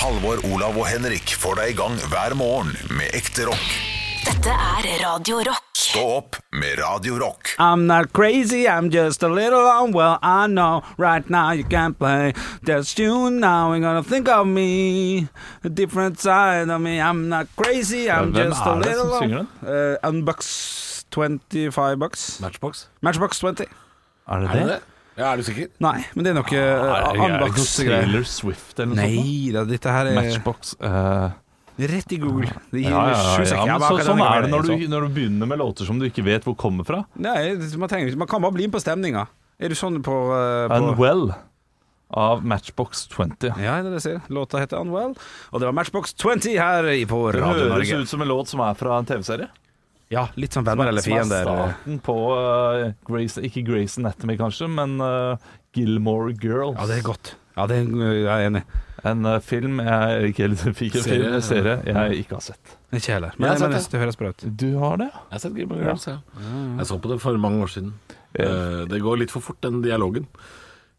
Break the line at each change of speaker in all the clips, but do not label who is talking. Halvor, Olav og Henrik får deg i gang hver morgen med ekte rock.
Dette er Radio Rock.
Stå opp med Radio Rock.
I'm not crazy, I'm just a little unwell. I know right now you can't play this tune. Now you're gonna think of me, a different side of me. I'm not crazy, I'm
Hvem
just a
er det som
little
synger den?
Uh, Unbox 25 bucks.
Matchbox?
Matchbox 20.
Er det
Er
det?
det det? Ja, er du sikker?
Nei, men det er nok
Ah, Er
uh,
det er det ikke noe
Unbox-greier.
Taylor Swift eller noe sånt?
Nei da, dette her
da?
er
Matchbox eh,
rett i Google. Det gir
Ja, ja, ja,
sju
ja,
sekunder.
men
hva
så,
kan
sånn
jeg
er det
gjøre?
når du, når du begynner med låter som du ikke vet hvor kommer fra.
Nei, man, trenger, ikke- man kan bare bli med på stemninga. Er du sånn på, uh, på
Unwell av Matchbox 20.
Ja, det er det jeg sier. Låta heter Unwell, og det var Matchbox 20 her i- på
Det
Radio
høres
Norge.
ut som en låt som er fra en TV-serie.
Ja, litt sånn venner eller
Som er
fiender.
starten på eh, Grace, Ikke Grace Anatomy, kanskje, men eh, Gilmore Girls.
Ja, det er godt. Ja, det er, jeg er enig.
En eh, film jeg ikke helt fikk en
Serie,
film, en serie jeg ikke har sett.
Ikke heller.
Jeg
Men,
har sett
men
det.
det høres bra ut.
Du har det?
Jeg har sett Gilmore Girls, ja. Jeg så på det for mange år siden.
Ja.
Eh, Det går litt for fort, den dialogen.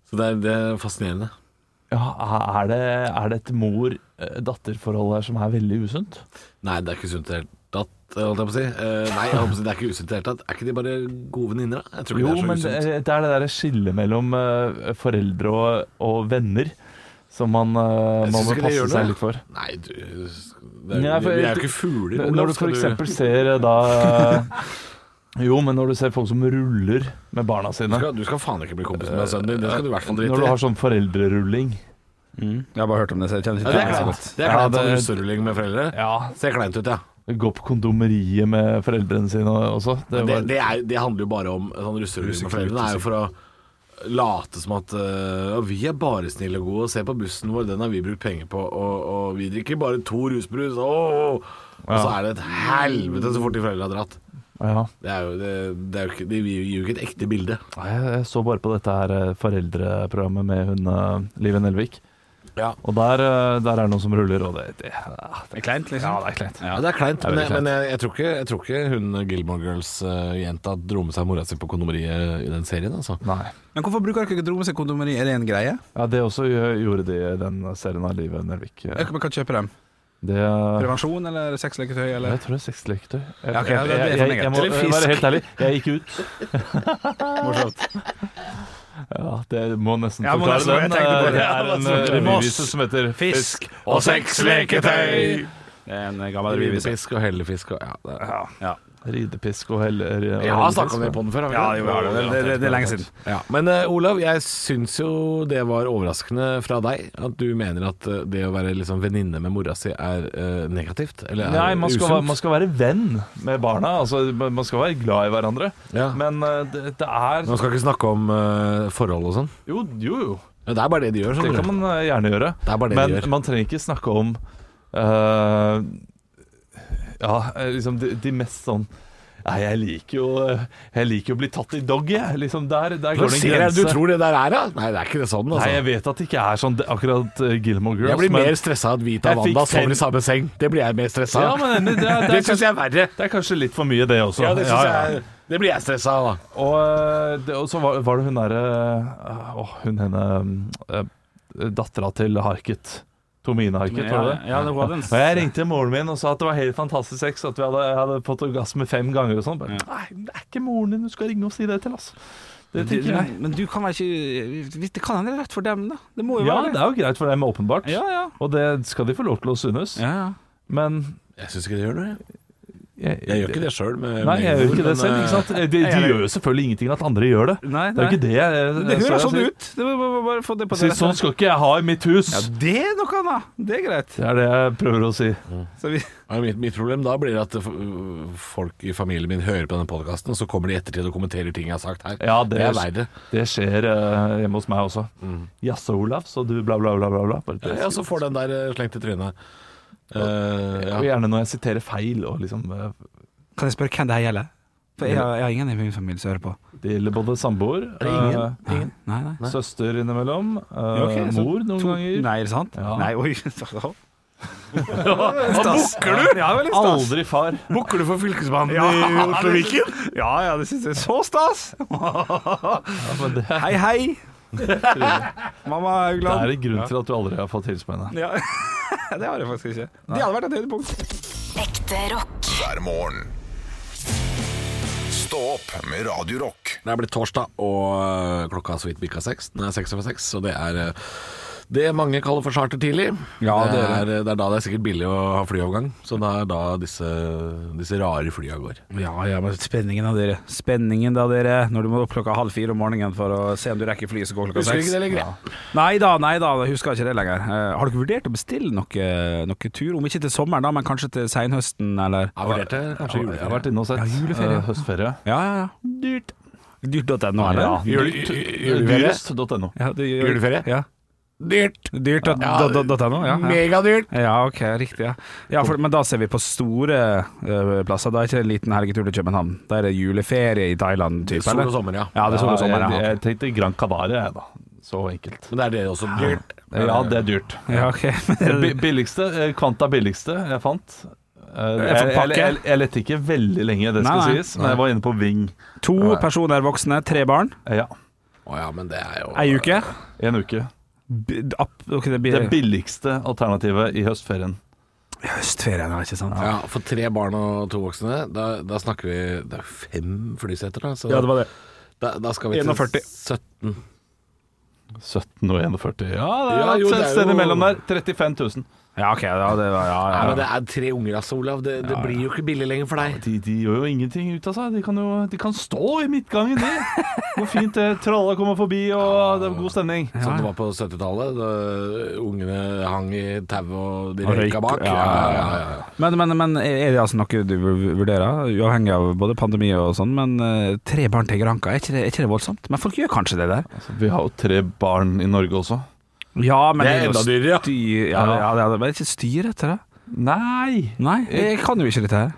Så det er, det er fascinerende.
Ja, er det, er det et mor-datter-forhold her som er veldig usunt?
Nei, det er ikke sunt i det hele tatt, holdt jeg på å si. Eh, Nei, jeg holdt på å si, det er ikke usunt i det hele tatt. Er ikke de bare gode venninner, da? Jeg tror ikke
Jo,
det er så
men eh,
usunt.
det det er det der skillet mellom eh, foreldre og, og venner som man, eh, man
Jeg synes
må
ikke det
passe
gjør noe,
seg
jeg.
litt for.
Nei, du, det er,
Nei, for-
vi vi er jo ikke fugler. Olav,
Når du
skal
for eksempel ser eh, da Jo, men når du ser folk som ruller med barna
du
sine
skal, du skal faen ikke bli kompis med sønnen din. Det skal du i hvert fall
Når du
drite
har
i.
sånn foreldrerulling
Jeg har bare hørt om det, så jeg kjenner
Ja,
ikke
det er
til det så
kleint.
godt.
Det er
Ja,
kleint sånn
det-
russerulling med foreldre.
Ja,
Ser kleint ut, ja.
gå på kondomeriet med foreldrene sine også Det
Men Det,
var
det, er, det handler jo bare om sånn russerulling med foreldrene. Det er jo for å late som at øh, «Å, vi er bare snille og gode, og se på bussen vår, den har vi brukt penger på, og, og vi drikker bare to rusbrus, åh!» Og så er det et helvete så fort de foreldre har dratt.
ja.
Det er jo, det, det er jo ikke, de gir jo ikke et ekte bilde.
Nei, Jeg, jeg så bare på dette her eh, foreldreprogrammet med hun eh, Live Nelvik
Ja.
Og der, eh, der er det noen som ruller Og det, det, ja, det,
Det er kleint,
ja,
liksom.
det er kleint
Ja, det er kleint, men,
Det er veldig
men jeg, jeg, tror ikke, jeg tror ikke hun Gilmore Girls-jenta dro med seg mora si på kondomeriet i den serien. Altså.
Nei
Men hvorfor bruker dere ikke dromesekondomeri? Er det en greie?
Ja, det også gjø- gjorde de i den serien av Live Nelvik
Jeg
Det,
kan, kan kjøpe dem.
jeg
Prevensjon eller sexleketøy eller
tror det er seksleketøy jeg,
Ja,
jeg,
ok,
jeg,
det er
jeg,
for
jeg,
meg,
må
eller
eh, være helt ærlig Jeg gikk ut
Morsomt.
Ja, det må nesten
Ja, må
forklare
nesten- jeg
den
tenkte på
Eh,
det.
Det
Ja,
er en
det var sånn.
eh, revyvise som heter Fisk
og sexleketøy!
Det er en gammel revyvise.
Ridefisk og hellefisk og ja, det er-
Ja.
Ja.
Ridepisk og hell... og
Jeg har
hellepisk,
snakka om det på den før. har vi
Ja,
ikke
jo, ja, det, det, det, det er lenge siden.
Ja, Men eh, Olav, jeg syns jo det var overraskende fra deg at du mener at eh, det å være liksom venninne med mora si er eh, negativt. Eller er
Nei, man skal, være-
usunt.
man skal være venn med barna. Altså, man skal være glad i hverandre.
Ja.
Men eh, det, det er
Man skal ikke snakke om eh, forhold og sånn.
Jo, jo, jo.
Ja, Det er bare det de gjør.
Det
skjønner
kan
du.
man eh, gjerne gjøre.
Det er bare det
Men
de gjør.
man trenger ikke snakke om eh, Ja, eh, liksom de, de mest sånn Nei, jeg liker jo eh, Jeg liker jo å bli tatt i doggy, jeg. Liksom der, der
Nå
går det en
ser jeg, du
grense.
tror det der er, ja? Nei, det er ikke det sånn, altså.
Nei, jeg vet at det ikke er sånn det- akkurat eh, Gilmore Girls.
jeg blir
men-
mer stressa av at Vita
Jeg
og
fikk
Wanda sover
ten-
i samme seng. Det blir jeg mer stressa
ja,
av.
men det, det, er-
Det
det, er
syns jeg er verre.
kanskje- det er kanskje litt for mye, det også.
Ja, det
Ja,
syns
ja.
jeg Det blir jeg stressa av, da.
Og, eh, det, og så var, var det hun derre eh, Åh, hun henne øh, Dattera til Harket. Tomine Harket, var det det?
Ja, det var den.
Og jeg ringte moren min og sa at det var helt fantastisk sex, at vi hadde, jeg hadde fått orgasme fem ganger og sånn. Bare, Nei, det er ikke moren din du skal ringe og si det til, altså. Det
Men
tenker jeg.
du- Men du kan vel ikke Det kan hende det er rett for dem, da. Det må jo
Ja,
være
det
det.
er jo greit for dem, åpenbart.
Ja, ja.
Og det skal de få lov til å synes.
ja, ja.
Men
Jeg syns ikke det gjør noe, jeg.
jeg,
Jeg gjør ikke det sjøl.
Nei, jeg gjør ikke det selv.
eh,
ikke sant? Det, det
jeg-
gjør jo selvfølgelig ingenting at andre gjør det.
Nei,
Det er jo ikke det jeg, jeg,
Det høres sånn
jeg-
ut. Det var bare, bare få det på
Si,
det.
sånn skal ikke jeg ha i mitt hus.
Ja, det er noe annet. Det er greit.
Det er det jeg prøver å si.
Så vi,
Ja, Mitt, mitt problem da blir at øh, folk i familien min hører på denne podkasten, og så kommer de i ettertid og kommenterer ting jeg har sagt her.
Ja, det,
det er verre.
det skjer eh, hjemme hos meg også.
Mm.
Jaså, Olav, så du bla, bla, bla. bla, bla. Bare,
Ja, så får den der øh, slengt i trynet. Eh,
Og
ja.
gjerne når jeg siterer feil. Og liksom, eh,
kan jeg spørre hvem det her gjelder? For jeg har, jeg har ingen i min familie som hører på.
det gjelder både samboer,
ingen?
eh,
Nei, nei.
søster innimellom, eh,
ok, så
mor noen ganger.
Nei, er det sant?
Ja.
Nei, oi. Hva bukker du? Ja, det var litt stas.
Aldri far.
Bukker du for Fylkesmannen i Oslo-Viken?
Ja, ja, det syns jeg er så stas.
Ja, men det,
Hei, hei. Mamma
det
Haugland.
er en grunn til at du aldri har fått hilse på henne.
Ja. det har jeg faktisk ikke. Det hadde vært et høydepunkt.
Ekte rock.
hver morgen. Stå opp med Radio Rock.
Det er blitt torsdag, og øh, klokka har så vidt bikka seks. Den er seks over seks, så det er øh, det mange kaller for charter tidlig.
Ja,
det,
det
er, eh,
er
det er da det er sikkert billig å ha flyavgang, så det er da disse, disse rare flya går.
Ja, ja, men spenningen da, dere. Spenningen da, dere. Når du må opp klokka halv fire om morgenen for å se om du rekker flyet som går klokka
Husker
seks.
ikke det lenger.
Nei da, nei da, jeg husker ikke det lenger. Eh, har dere vurdert å bestille noe, noe tur? Om ikke til sommeren, da, men kanskje til seinhøsten, eller?
Jeg vurderte kanskje
Jeg har vært
juleferie.
inne og sett.
Ja, juleferie,
eh, høstferie.
Ja, ja, ja. Dyrt. Dyrt.no, eller?
Ja,
Jule-
dyrt-
juleferie?
Dyrest.no.
Ja, du-
Juleferie?
Ja.
Dyrt!
Dyrt.no, ja. ja, ja.
Megadyrt!
Ja, ok, riktig. Ja, ja for, Men da ser vi på store eh, plasser. Da er ikke det en liten helgetur til København. Da er det juleferie i Thailand, type,
Sol og
eller?
sommer, ja.
Ja, det er sol og sommer.
jeg,
Ja,
jeg tenkte Gran Canaria, jeg, da. Så enkelt.
Men det er det også. Dyrt.
Ja, det er dyrt.
ja ok.
Bi- Billigste, eh, kvanta billigste jeg fant Eh, Jeg,
fant pakke.
jeg, jeg, jeg lette ikke veldig lenge, det
Nei,
skal
nei.
sies, men jeg var inne på Ving.
To personer voksne, tre barn.
Eh, Ja,
Å ja, men det er jo
Ei uke.
en uke.
B- app- ok, det blir
Det billigste alternativet i høstferien.
høstferien, da, ikke sant?
Ja, For tre barn og to voksne, da, da snakker vi Det er jo fem flyseter, da. Så
var det.
da, da skal vi
41.
til 17.
17 og 41 Ja, det
Ja,
er
jo,
et
det er
sted
jo-
imellom der. 35 000.
Ja, ok, ja, det var, ja,
Ja,
ja.
men det er tre unger, altså, Olav. Det, det blir jo ikke billig lenger for deg.
De, de gjør jo ingenting ut av seg. De kan jo de kan stå i midtgangen, de. Hvor fint det tralla kommer forbi, og det er god stemning.
Sånn det var på 70-tallet. da Ungene hang i tau og de
Og
røyka
røyk.
bak.
Ja, ja, ja, Men, men, men er det altså noe du vurderer, uavhengig av både pandemi og sånn, men eh, tre barn til Sri Lanka, er ikke det, er ikke det voldsomt? Men folk gjør kanskje det der?
Altså, vi har jo tre barn i Norge også.
Ja, men
Det er
jo
enda dyrere, ja.
styr, ja. ja, ja, det er bare ikke styr etter det.
Nei!
Nei, jeg kan jo ikke dette her.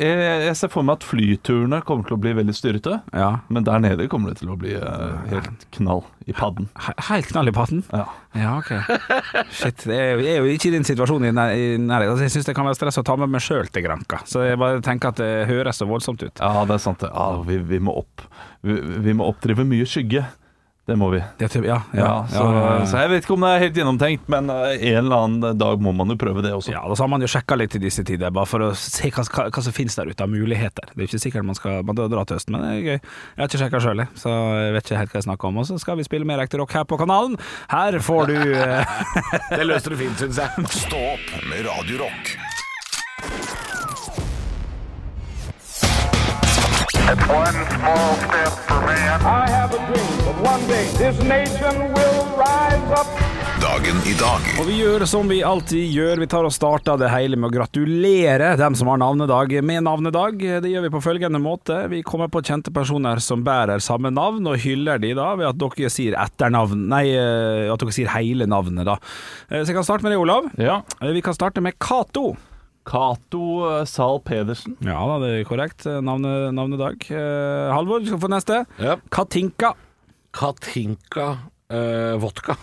Jeg, jeg ser for meg at flyturene kommer til å bli veldig styrete.
Ja.
Men der nede kommer det til å bli eh, helt knall i padden.
He- Helt knall i patten.
Ja.
Ja, ok. Shit, jeg er jo- jeg er jo ikke i den situasjonen i nær- i nærheten. Altså, jeg syns det kan være stress å ta med meg sjøl til Granka, så jeg bare tenker at det høres så voldsomt ut.
ja, det er sant det. Ja, vi, vi må opp. Vi, vi må oppdrive mye skygge. Det må vi.
Det er typ- Ja,
Ja,
ja,
så, så jeg vet ikke om det er helt gjennomtenkt, men eh, en eller annen dag må man jo prøve det også.
Ja, og så har man jo sjekka litt i disse tider, bare for å se hva, hva, hva som finnes der ute av muligheter. Det er jo ikke sikkert man skal man drar til høsten, men det er gøy. Jeg har ikke sjekka sjøl, så jeg vet ikke helt hva jeg snakker om. Og så skal vi spille mer ekte rock her på kanalen. Her får du eh,
Det løser du fint, syns jeg.
Stå opp med Radio Rock.
One small step for man.
I have a dream that one day this nation will rise up.
Dagen i dag
Og vi gjør som vi alltid gjør, vi tar og starter det hele med å gratulere dem som har navnedag med navnedag. Det gjør vi på følgende måte. Vi kommer på kjente personer som bærer samme navn, og hyller de da ved at dere sier etternavn, nei, eh, at dere sier hele navnet da. Eh, Så jeg kan starte med det, Olav.
Ja.
Eh, Vi kan starte med Cato.
Cato eh, Zahl Pedersen.
Ja da, det er korrekt. Navnet, navnedag. Eh, Halvor, du skal få neste.
Ja.
Katinka.
Katinka eh, vodka.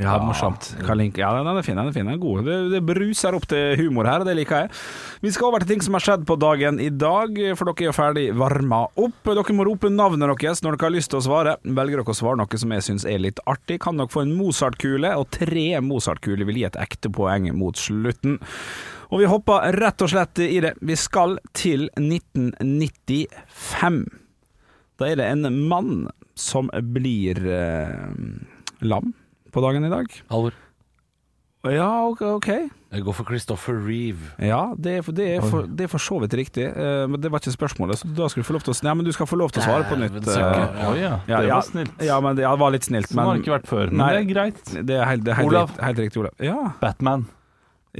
Ja, morsomt. Kalink. Ja, den er fin. den er fin, den er god. Det, det bruser opp til humor her, og det liker jeg. Vi skal over til ting som har skjedd på dagen i dag, for dere er jo ferdig varma opp. Dere må rope navnet deres når dere har lyst til å svare. Velger dere å svare noe som jeg syns er litt artig, kan dere få en Mozart-kule, og tre Mozart-kuler vil gi et ekte poeng mot slutten. Og vi hopper rett og slett i det. Vi skal til 1995. Da er det en mann som blir eh, lam på dagen i dag.
Halvor.
Ja, ok. ok.
Jeg går for Christopher Reeve.
Ja, det er, for, det, er for, det er for så vidt riktig, eh, men det var ikke spørsmålet. Så da skal du få lov til å s- Nei, men du skal få lov til å svare på nytt.
Dæven søkke.
eh.
Oi, ja. Det
ja,
var snilt.
Ja, men det, ja, det var litt snilt.
Sånn har
Men
det ikke vært før, men
Nei.
det er greit.
det er helt, det er helt,
Olav.
Riktig, helt riktig, Olav. Ja.
Batman.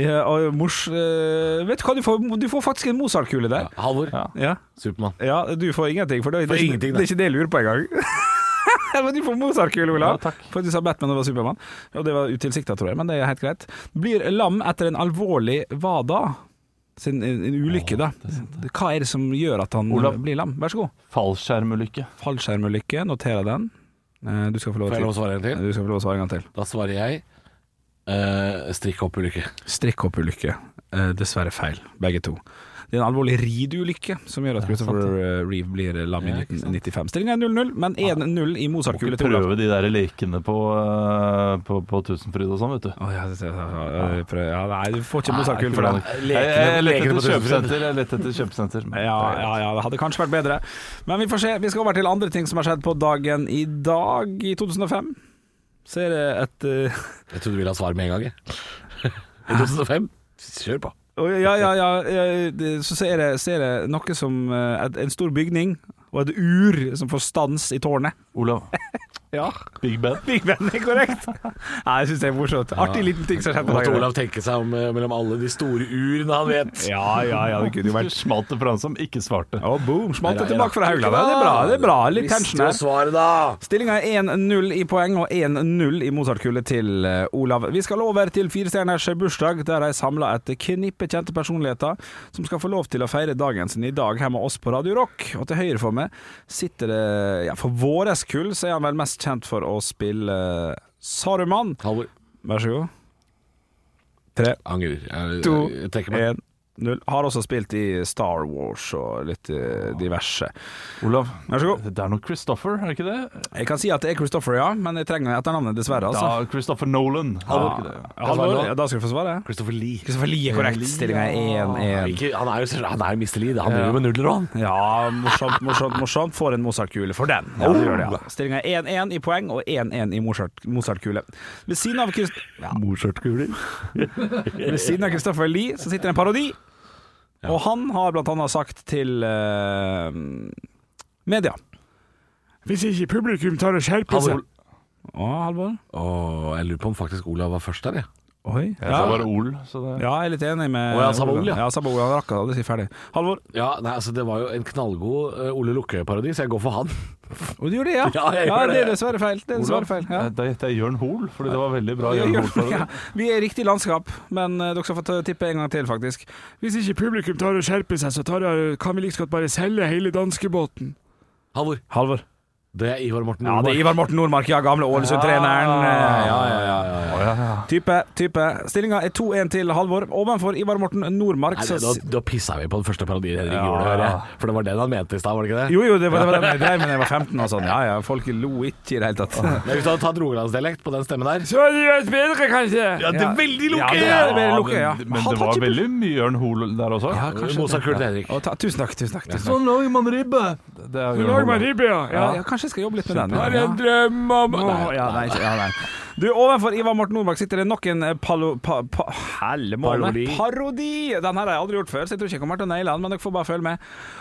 ja og mors eh, Vet du hva, du får, du får faktisk en Mozart-kule der.
Halvor.
Ja.
Ja.
Supermann.
ja, du får ingenting, for det, det,
Får
er ikke-
ingenting, da.
det er ikke det jeg lurer på engang. men du får Mozart-kule, Olav.
Ja, takk.
For du sa Batman og det var Supermann. Og det var utilsikta, tror jeg, men det er helt greit. Blir lam etter en alvorlig hva da? Sin, en, en ulykke, da. Hva er det som gjør at han
Olav.
blir lam? Vær så god.
Fallskjermulykke.
Fallskjermulykke, noterer den. Eh, Du skal få lov
Får jeg
til
lov å svare en til?
Du skal få lov å svare en gang til.
Da svarer jeg Eh, Strikkhopp-ulykke.
Strikkhopp-ulykke. Eh, dessverre feil, begge to. Det er en alvorlig ridulykke som gjør at Christopher eh, Reeve blir eh, lam i 1995. Stillinga er 0-0, men 1-0 i
Ikke
Mozart-kule til Olav.
prøve de der lekene på, eh, på, på Tusenfryd og sånn, vet du.
Å, ja, ja, ja, ja, prøv- ja, nei, du får ikke Mozart-kule for
Nei,
den.
jeg- Jeg lette
Lekene på
etter
Tusenfryd.
kjøpesenter. Jeg lette etter kjøpesenter. men-
Ja, ja, ja, det hadde kanskje vært bedre. Men vi får se. Vi skal over til andre ting som har skjedd på dagen i dag, i 2005. Så er det et eh,
Jeg trodde du ville ha svar med en gang. jeg. I 2005? Kjør på.
Å, Ja, ja, ja. eh, det- Så ser jeg, ser jeg noe som eh, et, en stor bygning og et ur som får stans i tårnet.
Olav.
Ja,
Big Ben.
Big Ben er korrekt. Nei, jeg syns det er morsomt. Artig liten ting som har skjedd på
Måtte
dagen.
Olav tenke seg om eh, mellom alle de store urene han vet.
Ja, ja, ja, det kunne jo vært
Smalt det fra han som ikke svarte.
Å, boom, smalt det
Jeg
tilbake fra
rakk
Haugland.
ikke,
Ja, Det er bra, det er bra. Litt
Visste
tension
jo
her.
svaret, da.
Stillinga er 1-0 i poeng og 1-0 i Mozart-kule til eh, Olav. Vi skal over til firestjerners bursdag, der de samla et knippe kjente personligheter som skal få lov til å feire dagen sin i dag her med oss på Radio Rock. Og til høyre for meg sitter det Ja, for våres kull så er han vel mest kjent for å spille eh, Saruman.
Halvor.
Vær så god. Tre,
Angrer. Jeg,
to,
jeg trekker meg.
én, null. Har også spilt i Star Wars og litt eh, diverse.
Olav,
Vær så god.
det er noe Christopher, er det ikke det?
Jeg kan si at det er Christopher, ja, men jeg trenger etternavnet, dessverre. altså
Ja, Christopher Nolan. Er det ikke det?
Halvor,
Halvor,
ja, da skal du få svare.
Christopher Lee.
Kristoffer Lie er korrekt. Stillinga er 1-1.
Ikke, han er jo han er jo Mr. Lee. da. Han driver jo med nudler og han.
Ja, morsomt, morsomt, morsomt. Får en Mozart-kule for den. Ja, det gjør det, ja. Stillinga er 1-1 i poeng og 1-1 i Mozart- Mozart-kule. Ved siden av Krist... Ja. Mozart-kuler. Ved siden av Kristoffer Lie så sitter en parodi, og han har blant annet sagt til eh, media Hvis ikke publikum tar og skjerper
seg-
Å, Halvor.
Åh, jeg lurer på om faktisk Olav var først der, jeg.
Oi.
Jeg sa
Ja.
bare Ol, så det
ja, jeg er litt enig med
Å, ja, samme ord, ja.
ja. Samme ord, han rakk det aldri si ferdig. Halvor.
Ja, nei, altså Det var jo en knallgod eh, Ole Lukkøy-parodi, så jeg går for han.
Og du gjorde det, ja?
Ja, jeg gjorde
det er
det.
dessverre feil. Det er
Olav,
dessverre feil. Ja.
eh, Da gjetter jeg Jørn Hoel, fordi det var veldig bra.
Jeg
Jørn
gjorde det,
Hoel
ja. Vi er i riktig landskap, men eh, dere skal få ta- tippe en gang til, faktisk. Hvis ikke publikum tar og skjerper seg, så kan vi like godt bare selge hele danskebåten.
Halvor.
Halvor.
Det er Ivar Morten
Ja, det er
Nordmark.
Ivar Morten Nordmark, ja. Gamle Ålesund-treneren. Eh, Ja, ja, ja. Type, type. Stillinga er 2-1 til Halvor. Ovenfor Ivar Morten Nordmark
Nei,
så
det, da, da pissa vi på den første parodien Henrik
Ja,
gjorde, hører
ja.
jeg. For det var den han mente i stad, var det ikke det?
Jo, jo, det var det, var det jeg drev med da jeg var 15 og sånn. Ja, ja, folk lo ikke i det hele tatt.
Men hvis du hadde tatt rogalandsdialekt på den stemmen der
Så hadde det vært bedre, kanskje. Ja,
det er veldig
Ja,
lukket.
det er veldig lukket, ja.
Men, men
Han
det
tar
var
ikke-
veldig mye Jørn Hoel der også.
Ja, kanskje
Mozart Kurt Henrik.
Å, ta, tusen takk, tusen takk. Tusen takk.
Sånn lager man ribbe! Det er
Sånn,
Jørn Hoel.
Ja, ja, kanskje jeg skal jobbe litt med den.
Har
ja.
en drøm om
Åh, ja, nei, ikke- ja, nei. Du, Ovenfor Ivar Morten Nordmark sitter det nok en eh, palo... Pa, pa, hellemåne.
Parodi.
Parodi! Den her har jeg aldri gjort før, så jeg tror ikke jeg kommer til å naile den, men dere får bare følge med.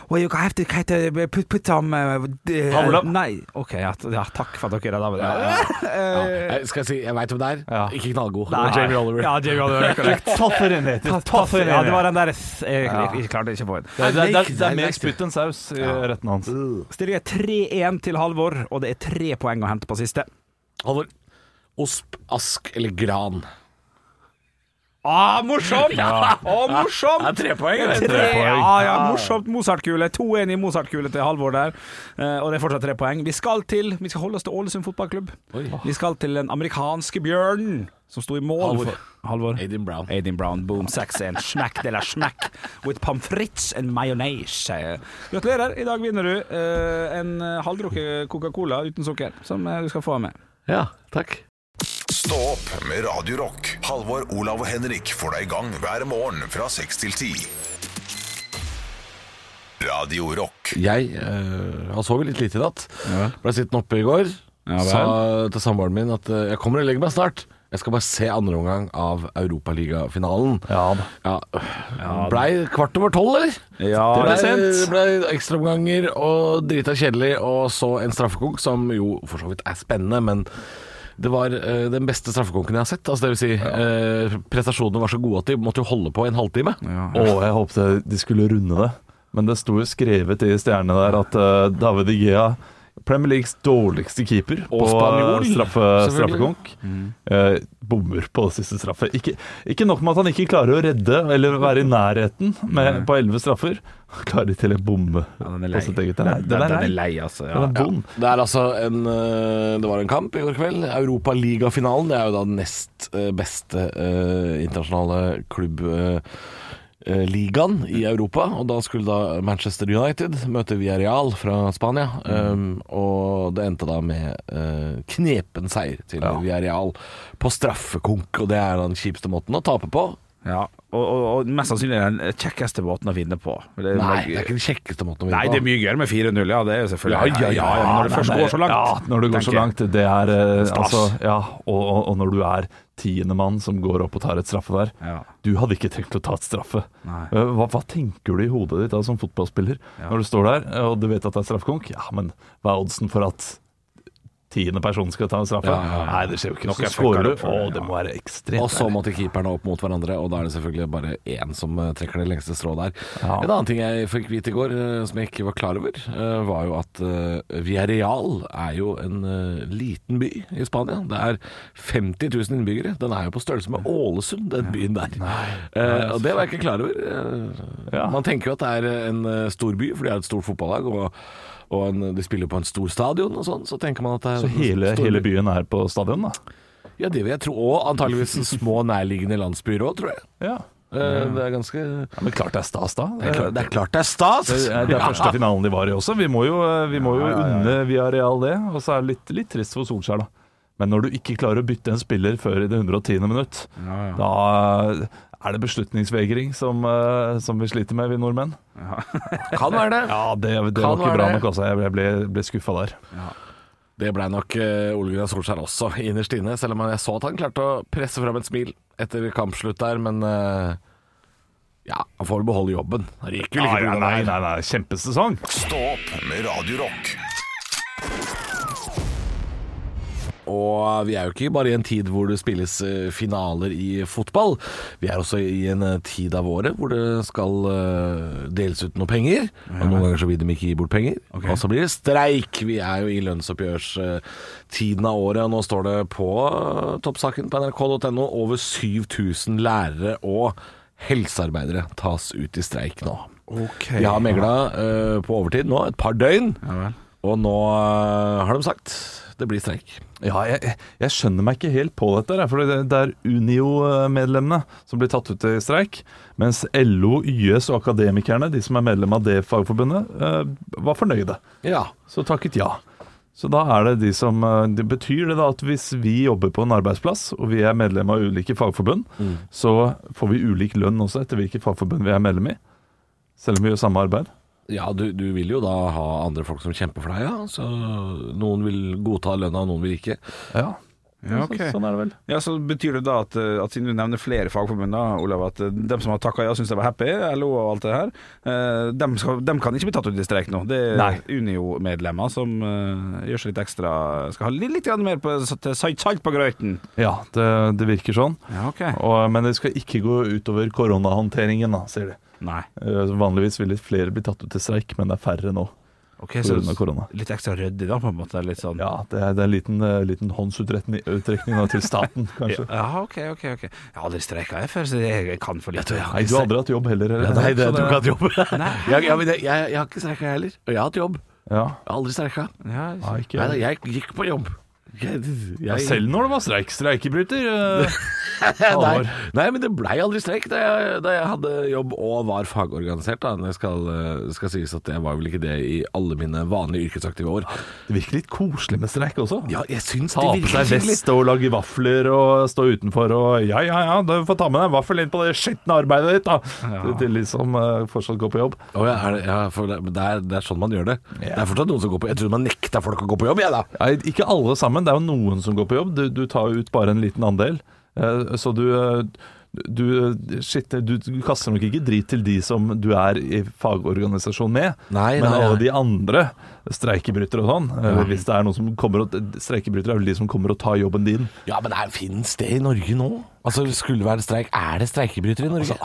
Well, you have to kind of put, put some uh, d-
Hamla.
Nei. OK, ja, t- ja, takk for at dere er der. Ja,
Ja, jeg skal si, jeg veit hvem det er.
Ja.
Ikke knallgod.
Nei.
Jamie Oliver.
Ja, Jamie Oliver er korrekt.
Taffer inn, heter det. Taffer inn.
Ja, det var den der s- Jeg jeg- jeg klarte ikke å få inn.
Det er, det er, det er, det
Nei,
er
nei,
mer spytt enn saus i retten hans.
Stillingen er 3-1 til Halvor, og det er tre poeng å hente på siste.
Halvor. Osp, ask eller gran?
Ah, morsomt! Ja. morsomt!
Det er tre poeng. eller?
Tre, ja, ja, morsomt Mozart-kule. 2-1 i Mozart-kule til Halvor der. Eh, og det er fortsatt tre poeng. Vi skal til Vi skal holde oss til Ålesund fotballklubb. Vi skal til den amerikanske bjørnen som sto i mål
Halvor.
for Halvor.
Aiden Brown.
Aiden Brown, boom, 6-1. Smack de la smack with pommes frites and mayonnaise. Eh, Gratulerer. I dag vinner du eh, en eh, halvdrukket Coca-Cola uten sukker, som eh, du skal få med.
Ja, takk.
Stå opp med Radio Rock. Halvor, Olav og Henrik får deg i gang hver morgen fra 6 til 10. Radio Rock.
Jeg eh, har sovet litt lite i natt. Ble sittende oppe i går.
Ja vel.
sa til samboeren min at eh, jeg kommer og legger meg snart. Jeg skal bare se andre omgang av Europaligafinalen.
Ja, da.
Ja. Blei kvart over tolv, eller?
Ja,
det
det
blei,
er sent.
blei ekstraomganger og drita kjedelig, og så en straffekonk som jo for så vidt er spennende, men det var eh, den beste straffekonken jeg har sett. Altså, det vil si, eh, prestasjonene var så gode at de måtte jo holde på en halvtime.
Å, jeg håpte de skulle runde det. Men det sto jo skrevet i stjernene der at eh, David Igea Premier Leagues dårligste keeper på
spanjol,
straffe,
selvfølgelig.
straffekonk.
Mm.
Eh, bommer på det siste straffe. Ikke, ikke nok med at han ikke klarer å redde eller være i nærheten med, på elleve straffer. Han klarer til å bomme
Mm. den er
på
lei.
sitt eget. Den er, den er lei.
altså.
Den er bond.
Det er altså en eh, Det var en kamp i går kveld. Europaligafinalen. Det er jo da den nest eh, beste eh, internasjonale klubbligaen i Europa. Og da skulle da Manchester United møte Villarreal fra Spania.
Mm.
Um, og det endte da med eh, knepen seier til Villarreal på straffekonk. Og det er da den kjipeste måten å tape på.
Ja, og, og, og mest sannsynlig er det den kjekkeste måten å vinne på. Det er-
Nei, det er ikke den kjekkeste måten å vinne
Nei, det er mye gøyere med 4-0, ja. Det er jo selvfølgelig
Ja, ja, ja,
Men når det først går så langt
Ja, når det går så
tenker jeg.
langt. Det er eh,
Stas.
altså Ja, og, og, og når du er tiendemann som går opp og tar et straffe der.
Ja.
Du hadde ikke tenkt å ta et straffe.
Nei.
Eh, Hva, hva tenker du i hodet ditt da som fotballspiller når du står der eh, og du vet at det er straffekonk? Ja, men hva er oddsen for at tiende person skal ta en straffe? Nei, det skjer jo ikke.
Nok
Så
jeg fucker
skårer du.
opp for
Å,
det,
det
ja.
må være ekstremt.
Og så
deilig.
måtte keeperne opp mot hverandre, og da er det selvfølgelig bare én som eh, trekker det lengste strået der.
Ja.
En annen ting jeg fikk vite i går eh, som jeg ikke var klar over, eh, var jo at eh, Villarreal er jo en eh, liten by i Spania. Det er 50 000 innbyggere. Den er jo på størrelse med Ålesund, den byen der. Eh, og det var jeg ikke klar over. Eh,
altså. Ja.
Man tenker jo at det er eh, en eh, stor by, for de er et stort fotballag. og og en, de spiller på en stor stadion og sånn, så tenker man at det er
Så hele,
en stor
hele
by.
byen er på stadion, da?
Ja, det vil jeg tro. Og antageligvis små nærliggende landsbyer òg, tror jeg.
Ja.
Eh, Det er ganske
ja men klart det er stas, da.
Det er klart det er, klart det er stas!
Det er, det er første finalen de var i også. Vi må jo, eh, vi må jo unne Villarreal det. Og så er det litt, litt trist for Solskjær, da. Men når du ikke klarer å bytte en spiller før i det 110. minutt, da er det beslutningsvegring som, eh, som vi sliter med, vi nordmenn.
Kan være det.
Ja, det, det var
Kan
ikke
være
bra
det.
nok, altså. Jeg ble, ble, ble skuffa der.
Det blei nok eh, Ole Gunnar Solskjær også, innerst inne. Selv om jeg så at han klarte å presse fram et smil etter kampslutt der, men eh, ja, han får vel beholde jobben. Det gikk jo
Nei,
ikke pga.
nei,
det her.
nei, nei, kjempesesong!
Stå opp med Radio Rock.
Og vi er jo ikke bare i en tid hvor det spilles eh, finaler i fotball. Vi er også i en eh, tid av året hvor det skal eh, deles ut noe penger. Og noen ganger så vil de ikke gi bort penger. Og så blir det streik. Vi er jo i lønnsoppgjørstiden av året, og nå står det på eh, toppsaken på nrk.no over 7000 lærere og helsearbeidere tas ut i streik nå. De har megla eh, på overtid nå et par døgn, og nå eh, har de sagt det blir streik.
Ja, jeg, jeg skjønner meg ikke helt på dette. For det, det er Unio-medlemmene som blir tatt ut i streik. Mens LO, YS og Akademikerne, de som er medlem av det fagforbundet, eh, var fornøyde.
Ja.
Så takket ja. Så da er det de som eh, det Betyr det da at hvis vi jobber på en arbeidsplass, og vi er medlem av ulike fagforbund, så får vi ulik lønn også etter hvilket fagforbund vi er medlem i? Selv om vi gjør samme arbeid?
Ja, du, du vil jo da ha andre folk som kjemper for deg, ja. Så noen vil godta lønna, og noen vil ikke.
Ja.
Ja, ok.
Så, sånn er det vel.
Ja, så Betyr det da at, eh, at siden du nevner flere fagforbund, da, Olav, at eh, dem som har takka ja, syns de var happy, LO og alt det her, eh, dem, skal, dem kan ikke bli tatt ut i streik nå. Det
Nei.
er Unio-medlemmer som eh, gjør seg litt ekstra Skal ha litt, litt grann mer på, salt- salt på grøten.
Ja, det, det virker sånn.
Ja, ok.
Og, men det skal ikke gå utover koronahåndteringen, da, sier de.
Nei.
Eh, Vanligvis ville flere bli tatt ut til streik, men det er færre nå.
Ok, så
grunn av korona.
Litt ekstra ryddig, da, på en måte. Litt sånn.
Ja, Det er, det er en liten, eh, liten håndsutrekning utrekning nå til staten, kanskje.
Ja, ok, ok. ok Jeg har aldri streika jeg før, så jeg kan for lite.
Nei, du har aldri hatt jobb heller? eller?
Nei, det,
Så
du
det-
ikke hatt jobb. jeg, jeg, jeg, jeg har ikke streika, jeg heller. Og jeg har hatt jobb. Jeg
Ja.
har aldri streika.
Ja,
Nei, ikke.
Nei, nei, jeg gikk på jobb. Jeg,
Ja,
jeg-
selv når det var streik. Streikebryter. eh,
nei,
Alvor.
nei, men det blei aldri streik da jeg, da jeg hadde jobb og var fagorganisert. Da. Det skal, eh, skal sies at jeg var vel ikke det i alle mine vanlige yrkesaktive år.
Det virker litt koselig med streik også.
Ja, jeg syns
Ta på seg vest og lage vafler og stå utenfor og Ja, ja, ja, du får ta med deg en vaffel inn på det skitne arbeidet ditt, da. Til- Til de som eh, fortsatt går på jobb.
Å ja, er det, ja, for det, men det, er, det er sånn man gjør det. Det er fortsatt noen som går på Jeg trodde man nekta folk å gå på jobb, jeg, da.
Nei, ikke alle sammen. Det er jo noen som går på jobb. Du, du tar jo ut bare en liten andel. Eh, Så du eh, du, eh, shit, du du kaster nok ikke drit til de som du er i fagorganisasjon med,
Nei,
men
nei,
alle
nei.
de andre streikebrytere og sånn. Eller hvis det er noen som kommer og Streikebrytere er vel de som kommer og tar jobben din.
Ja, men det fins det i Norge nå? Altså, skulle det være streik Er det
Altså,
streikebrytere i Norge?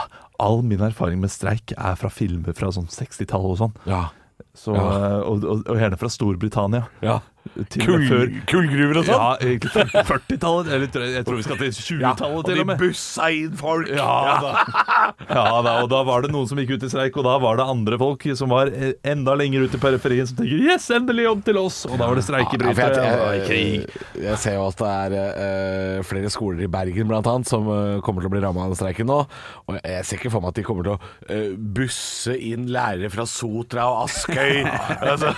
All min erfaring med streik er fra filmer fra sånn 60-tallet og sånn.
ja.
Så, eh, og, og, og gjerne fra Storbritannia.
Ja.
Til og
Kull,
med før
kullgruver og sånn?
Ja, egentlig før 40-tallet. Eller tror jeg- jeg tror vi skal til 20-tallet, til og med.
bussa inn folk!
Ja da. ja da, og da var det noen som gikk ut i streik, og da var det andre folk som var eh, enda lenger ut i periferien som tenker 'yes, endelig jobb til oss', og da var det streik i
Ja, for jeg,
brytet, og da var det
jeg,
krig.
jeg ser jo at det er eh, flere skoler i Bergen blant annet som eh, kommer til å bli ramma av den streiken nå. Og jeg ser ikke for meg at de kommer til å eh, busse inn lærere fra Sotra og Askøy. altså,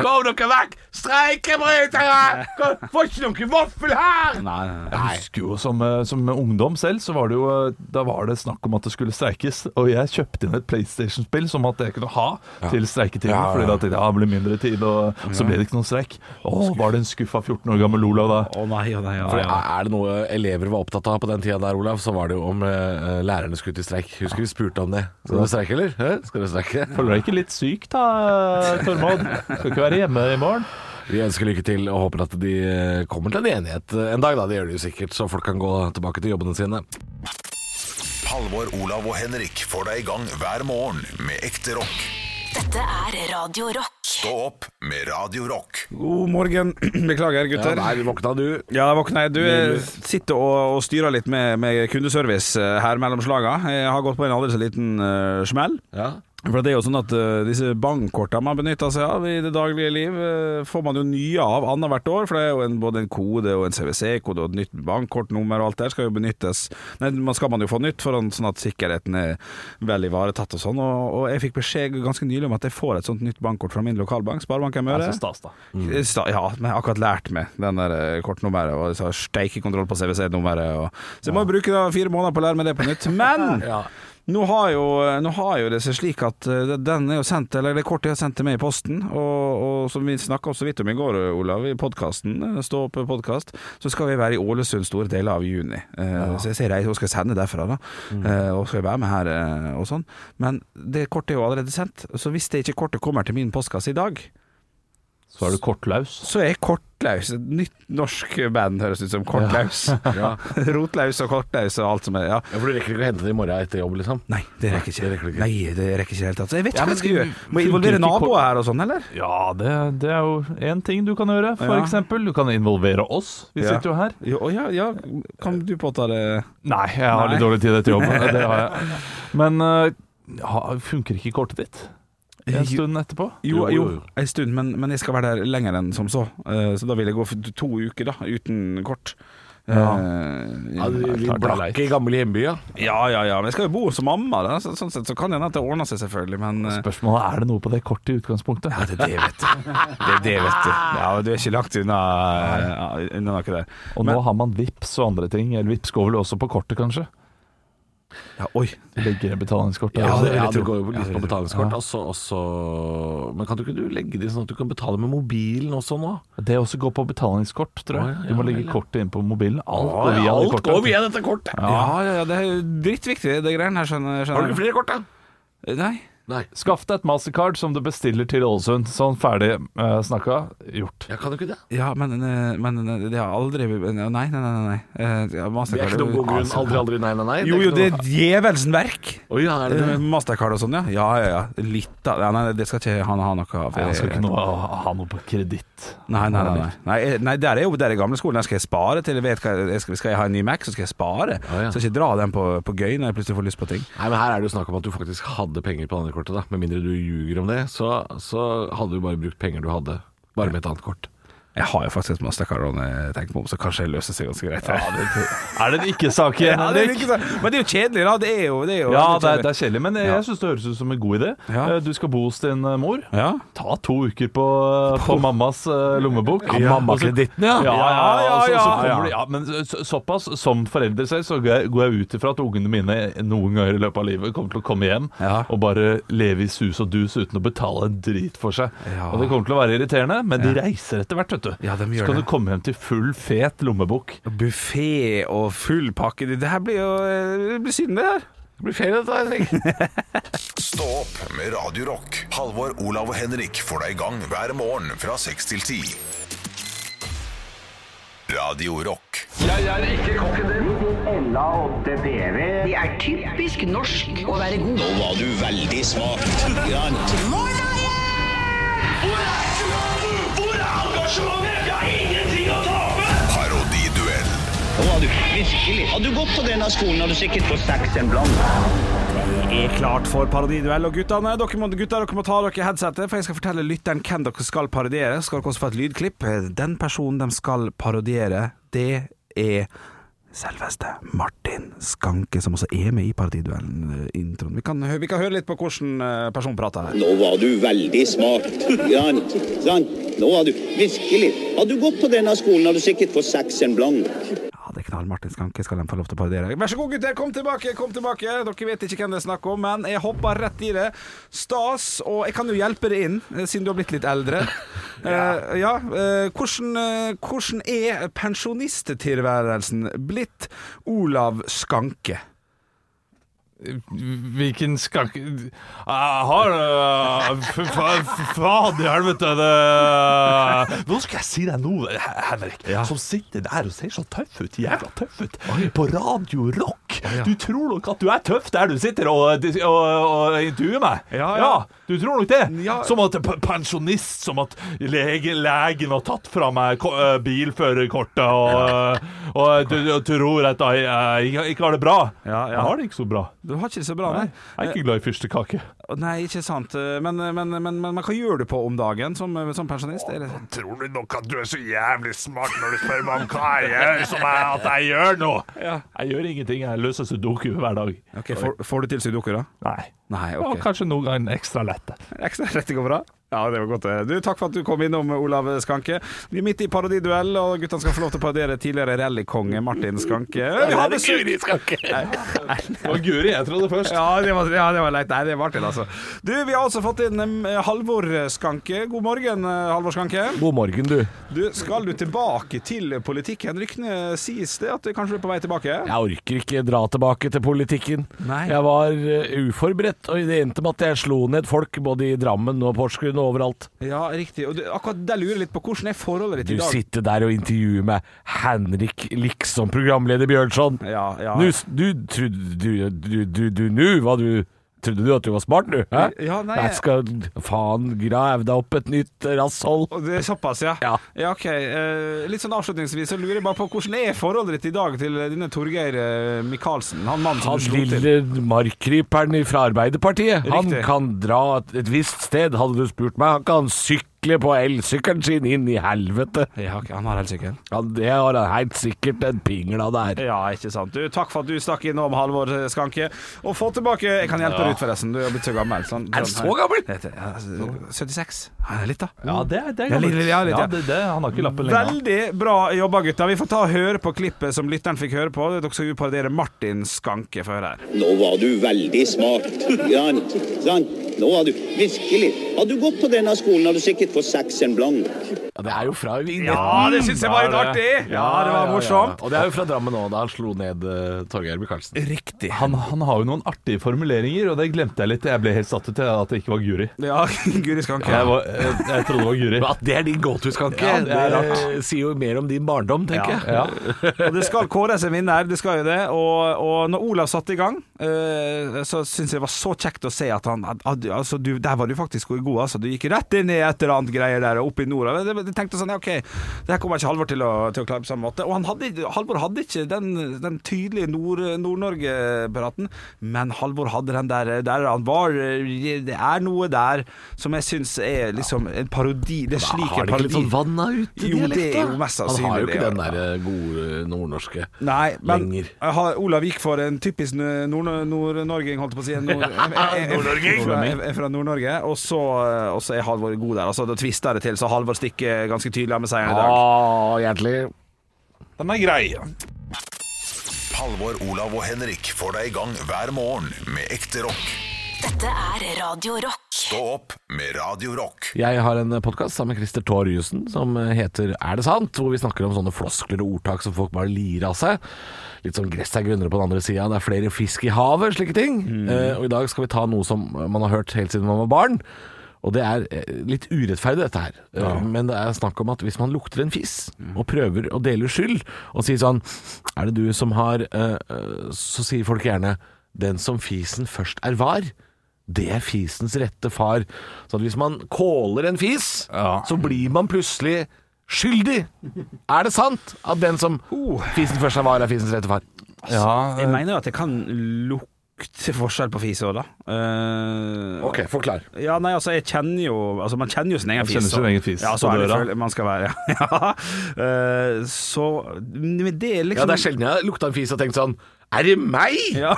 Kom dere vekk! Streikebrytere! Kom, Får ikke noen vaffel her!
Nei, nei, nei.
Jeg husker jo som, eh, som ungdom selv, så var det jo eh, Da var det snakk om at det skulle streikes, og jeg kjøpte inn et PlayStation-spill som at jeg kunne ha til streiketiden,
Ja, ja, ja.
fordi da tenkte jeg ja, det blir mindre tid, og så ble det ikke noen streik. Å, var det en skuffa 14 år gammel Olav da?
Å nei, å nei, å
For
nei.
er er det noe elever var opptatt av på den tida der, Olav, så var det jo om eh, lærerne skulle ut i streik. Husker vi spurte om det. Skal dere streike, eller? Hæ? Skal dere streike?
Føler du deg ikke litt syk da, Tormod? Skal ikke være hjemme i morgen?
Vi ønsker lykke til og håper at de eh, kommer til en enighet eh, en dag. da, Det gjør de jo sikkert, så folk kan gå tilbake til jobbene sine.
Halvor, Olav og Henrik får deg i gang hver morgen med ekte rock.
Dette er Radio Rock.
Stå opp med Radio Rock.
God morgen. Beklager,
Ja,
gutter.
nei, våkna du.
Ja, jeg våkner. Du jeg sitter og, og styrer litt med, med kundeservice eh, her mellom slaga. Jeg har gått på en aldri så liten eh, smell.
Ja.
For det er jo sånn at eh, disse bankkortene man benytter seg av i det daglige liv, eh, får man jo nye av annethvert år. For det er jo en, både en kode og en CWC-kode og et nytt bankkortnummer og alt det der skal jo benyttes. Nei, man skal man jo få nytt, for an- sånn at sikkerheten er vel ivaretatt og sånn. Og, og jeg fikk beskjed ganske nylig om at jeg får et sånt nytt bankkort fra min lokalbank, Sparebanken Møre.
Det er så stas, da.
Mm. Sta- Ja, men jeg har akkurat lært meg den der eh, kortnummeret og så har jeg steikekontroll på CWC-nummeret. og- Så jeg må jo bruke da fire måneder på å lære meg det på nytt. Men nå, har jo, nå har jo det seg slik at eh, den er jo sendt, eller det kortet er sendt til meg i posten, og, og som vi snakka så vidt om i går, eh, Olav, i podkasten, Stå opp podkast, så skal vi være i Ålesund store deler av juni. Eh, Så jeg ser jeg skal sende derfra, da, Eh, og skal være med her eh, og sånn. Men det kortet er jo allerede sendt, så hvis det ikke kortet kommer til min postkasse i dag,
Så er du kortlaus.
så er Kortlaus et nytt norsk band, høres ut som. Kortlaus. Rotlaus og Kortlaus og alt som er Ja.
Ja, For du rekker ikke å hente det i morgen etter jobb, liksom?
Nei, det rekker ikke.
rekker du ikke.
Nei, det rekker ikke i det hele tatt. Så jeg vet ikke
Ja,
hva
men
jeg skal gjøre.
du-
Må jeg involvere
funker ikke
naboer
kort-
her og sånn, eller?
Ja, det, det er jo én ting du kan gjøre, for
Ja.
eksempel. Du kan involvere oss. Vi
Ja.
sitter jo her.
Jo, å ja, ja, kan du påta det?
Nei, jeg har
Nei.
litt dårlig tid etter jobb. Det har jeg. Men eh, ja, funker ikke kortet ditt en stund etterpå?
Jo,
Jo,
jo,
jo.
en stund, men, men jeg skal være der lenger enn som så. Eh, Så da vil jeg gå for to uker, da, uten kort.
Ja.
Eh,
Ja, du-
klart
Litt
det er
blakk i gamle hjemby, ja.
ja, ja, ja. Men jeg skal jo bo hos mamma, da. Så, sånn sett så kan det hende at det ordner seg, selvfølgelig, men eh,
Spørsmålet er er det noe på det kortet i utgangspunktet.
Ja, det er det, vet du. Det er det, vet du. Ja, men Du er ikke langt unna, ja, unna noe der.
Og nå har man VIPs og andre ting. Eller VIPs går vel også på kortet, kanskje.
Ja, oi.
Begge betalingskort.
Ja,
altså.
det, ja, det går jo litt på betalingskort. Altså, også, men kan du ikke du legge det inn sånn at du kan betale med mobilen også nå?
det også går på betalingskort, tror jeg.
Å, ja,
Du må
ja,
legge
vel, ja.
kortet inn på mobilen. Alt
Å,
går
ja,
via det
alt
kortet.
går via dette kortet!
Ja, ja, ja det er jo drittviktig, det greiene her, skjønner
Har du
skjønner
ikke flere kort, da?
jeg. Nei.
Nei.
Skaff deg et mastercard som du bestiller til Ålesund. Sånn ferdig eh, snakka, gjort.
Ja, kan du ikke det?
Ja, men, eh, men eh, det har aldri Nei, nei, nei. nei, nei. Eh, ja,
Det er
Mastercard
ikke noen god grunn. Aldri, aldri, nei, nei, nei.
Jo, jo,
ikke
det
noe-
er djevelsen verk.
Oi, ja, er det
Eh,
det?
Mastercard og sånn, ja. Ja, ja, ja. Litt av ja, Nei, det skal ikke han ha noe av.
Jeg skal ikke noe, ha noe på kreditt.
Nei, nei, nei, nei. nei, eh, nei der er jo der er gamle skolen. Der skal jeg spare til jeg vet hva jeg skal, skal jeg ha en ny Mac, så skal jeg spare.
Ja, ja.
Så ikke dra den på, på gøy når jeg plutselig får lyst på ting.
Nei, men Her er det jo snakk om at du faktisk hadde penger på det andre kortet. da Med mindre du ljuger om det, så, så hadde du bare brukt penger du hadde, bare med et annet kort.
Jeg har jo faktisk et Mastercard Ron, jeg tenker på om, så kanskje det løser seg ganske greit. Ja, det,
Er det en ikke-sak igjen,
det er
Henrik?
ikke sant. Men det er jo kjedelig, da. Det er jo, det er jo
Ja, det er,
veldig
det er kjedelig, men jeg,
Ja.
jeg syns det høres ut som en god idé.
Ja.
Eh, Du skal bo hos din eh, mor.
Ja.
Ta to uker på, på mammas eh, lommebok. Ja,
mammakreditten, ja.
ja. Ja, ja,
Ja, ja,
Så, så
ja.
kommer du, ja. Men så, såpass, som forelder selv, så går jeg- går jeg ut ifra at ungene mine noen ganger i løpet av livet kommer til å komme hjem
Ja.
og bare leve i sus og dus uten å betale en drit for seg.
Ja.
Og det kommer til å være irriterende, men de reiser etter hvert, vet du.
Ja, de gjør
så kan
det.
du komme hjem til full, fet lommebok.
Buffé og full pakke. Det det her blir jo eh, det blir synd, det her.
Det blir ferie, dette, Henrik.
Stå opp med Radio Rock. Halvor, Olav og Henrik får deg i gang hver morgen fra 6 til 10. Radio Rock.
Det er typisk norsk å være god. Nå var du veldig smak. Morna,
Hvor er engasjementet? Hvor er engasjementet? Jeg har ingenting å tape!
Parodiduell.
Nå har du virkelig Hadde du gått på denne skolen, hadde du sikkert fått seks en blant.
er klart for parodiduell. Og guttene, dere må, gutter, dere må ta dere headsetet, for jeg skal fortelle lytteren hvem dere skal parodiere. Så skal dere også få et lydklipp. Eh, Den personen de skal parodiere, det er selveste Martin Skanke, som også er med i parodiduellen. eh, Introen. Vi kan, hø- vi kan høre litt på hvordan eh, personen prater her.
Nå var du veldig smart. Jan, sant? Nå var du virkelig Hadde du gått på denne skolen, hadde du sikkert fått seks en blank.
Ja, det er knall. Martin Skanke skal de få lov til å parodiere. Vær så god, gutter, kom tilbake! kom tilbake Dere vet ikke hvem det er snakk om, men jeg hopper rett i det. Stas, og jeg kan jo hjelpe deg inn, eh, siden du har blitt litt eldre. Eh, ja, eh, hvordan, eh, hvordan er pensjonisttilværelsen blitt Olav Skanke?
Hvilken skank... Jeg har øh, f- fa- f- Faen i helvete! Det. Nå skal jeg si deg noe, Henrik, som sitter der og ser så tøff ut. Jævla tøff ut. På Radio Rock. Du tror nok at du er tøff der du sitter og, eh, og, og intervjuer meg.
Ja, ja.
Du tror nok det.
Ja.
Som at p- pensjonist, som at lege, legen har tatt fra meg ko- øh, bilførerkortet, og, øh, og du, du tror at jeg, jeg ikke- ikke har det bra.
Ja, ja.
Jeg har det ikke så bra.
Du har ikke det så bra,
Nei,
nei?
jeg er ikke glad i fyrstekake.
Eh, Nei, ikke sant. Eh, Men, men, men, men, men hva gjør du på om dagen som, eh, som pensjonist? Er det...
Tror du nok at du er så jævlig smart når du spør meg om hva jeg gjør, som jeg, at jeg gjør nå? Jeg gjør ingenting, jeg løser sudoku hver dag.
Ok, får, får du til sudoku, da?
Nei.
Nei,
Og
ok.
kanskje noen gang ekstra lette.
Ekstra rett går bra. Ja, det var godt. det. Du, Takk for at du kom innom, Olav Skanke. Vi er midt i parodiduell, og guttene skal få lov til å parodiere tidligere rallykonge Martin Skanke. Vi har besøk!
Det var Guri jeg trodde først.
Ja, det var, ja, det var leit. Nei, det var til, altså. Du, vi har også fått inn em, Halvor Skanke. God morgen, eh, Halvor Skanke.
God morgen, du.
Du, skal du tilbake til politikken? Ryktene sies det at du kanskje er på vei tilbake?
Jeg orker ikke dra tilbake til politikken.
Nei.
Jeg var eh, uforberedt, og det endte med at jeg slo ned folk både i Drammen og Porsgrunn og overalt.
Ja, riktig. Og du, akkurat der lurer jeg litt på hvordan er forholdet ditt
Du
i dag?
sitter der og intervjuer med Henrik liksom programleder Bjørnson.
Ja, ja.
Nu, s- du trodde du Du, du, du, nu var du Trodde du at du var smart, du? Hæ?
Ja, nei,
jeg
jeg-
skal faen grav deg opp et nytt rasshold.
Og det er såpass, ja?
Ja.
ok. eh, litt sånn avslutningsvis så lurer jeg bare på hvordan er forholdet ditt i dag til denne Torgeir eh, Micaelsen? Han mannen som
Han
du slo til.
lille markkryperen fra Arbeiderpartiet. Han
Riktig.
kan dra et, et visst sted, hadde du spurt meg. Han kan sykle på elsykkelen sin inn i helvete.
Ja, ok, han har elsykkel.
Ja, det har han helt sikkert en pingel av der.
Ja, ikke sant. Du, takk for at du stakk innom, Halvor eh, Skanke. Og få tilbake Jeg kan hjelpe deg ut, forresten. Du har blitt så gammel. Sånn,
Er han så gammel?
Det heter- ja, 76. Ja, det er litt, da.
Ja, det, det er
Ja,
gammelt.
litt, litt, ja, litt, ja.
Ja, det, det, han har ikke lappen lenger.
Veldig bra jobba, gutta. Vi får ta og høre på klippet som lytteren fikk høre på. Dere skal jo parodiere Martin Skanke for her.
Nå var du veldig smart, Jan. Sant? Nå var du virkelig Hadde du gått på denne skolen, hadde du sikkert fått seks en blank.
Ja, det er jo fra vignetten.
Ja, det syns jeg var litt artig! Ja, det var morsomt.
Og det er jo fra Drammen òg, da han slo ned eh, Torgeir Micaelsen.
Riktig.
Han, han har jo noen artige formuleringer, og det glemte jeg litt. Jeg ble helt satt ut til at det ikke var Guri.
Ja, Guri Skanke.
Jeg, var, jeg, jeg trodde det var Guri.
At det er din go-to-skanke,
Ja, det
det,
er
eh, sier jo mer om din barndom, tenker jeg.
Ja.
Og det skal kåres en vinner, det skal jo det. Og, og når Olav satte i gang, eh, så syns jeg det var så kjekt å se at han at, at, altså, du, Der var du faktisk god, altså. Du gikk rett inn i et eller annet greier der oppe i nord. Jeg jeg tenkte sånn, ja, OK, det her kommer ikke Halvor til å, til å klare på samme måte. Og han hadde, Halvor hadde ikke den, den tydelige Nord- Nord-Norge-praten, men Halvor hadde den der, der han var eh, Det er noe der som jeg syns er liksom en parodi. Det er slik
Har
en
det ikke
parodi.
litt sånn vanna
Jo,
ut-dialekt,
det er jo mest sannsynlig
Han har jo
det,
ikke den
ja.
der eh, gode nordnorske.
Nei, men
lenger.
jeg har- Olav gikk for en typisk n- nord- nord-norging, holdt jeg på å si. En nord- jeg- jeg- jeg- fra- jeg- jeg er Fra Nord-Norge. Og så eh, og så er Halvor god der. Altså, Da tvister det til, så Halvor stikker ganske tydelig av med seieren i dag.
Å, Ah, hjertelig.
Den er grei.
Halvor, Olav og Henrik får deg i gang hver morgen med ekte rock.
Dette er Radio Rock.
Stå opp med Radio Rock.
Jeg har en podkast sammen med Christer Torjussen som heter Er det sant?, hvor vi snakker om sånne floskler og ordtak som folk bare lirer av seg. Litt sånn gress er grunnere på den andre sida, det er flere fisk i havet, slike ting. Eh, og i dag skal vi ta noe som man har hørt helt siden man var barn. Og det er eh, litt urettferdig, dette her. Eh, Men det er snakk om at hvis man lukter en fiss, og prøver å dele skyld, og sier sånn Er det du som har eh, eh», Så sier folk gjerne 'Den som fisen først er var'. det er fisens rette far. Så at hvis man caller en fis,
Ja.
så blir man plutselig skyldig. Er det sant at den som fisen først var, er fisens rette far?
Jeg
Ja,
mener jo at jeg kan lukte forskjell på fise òg, da. Eh,
Ok, forklar.
Ja, nei, altså, jeg kjenner jo Altså, man kjenner jo sin egen
Man
fis.
kjenner sin
da.
egen fis
Ja, så
på
er det
døra.
føl- man skal være Ja. Eh, så Men det er
Ja,
liksom
det er sjelden jeg har lukta en fis og tenkt sånn Er det meg?! Ja.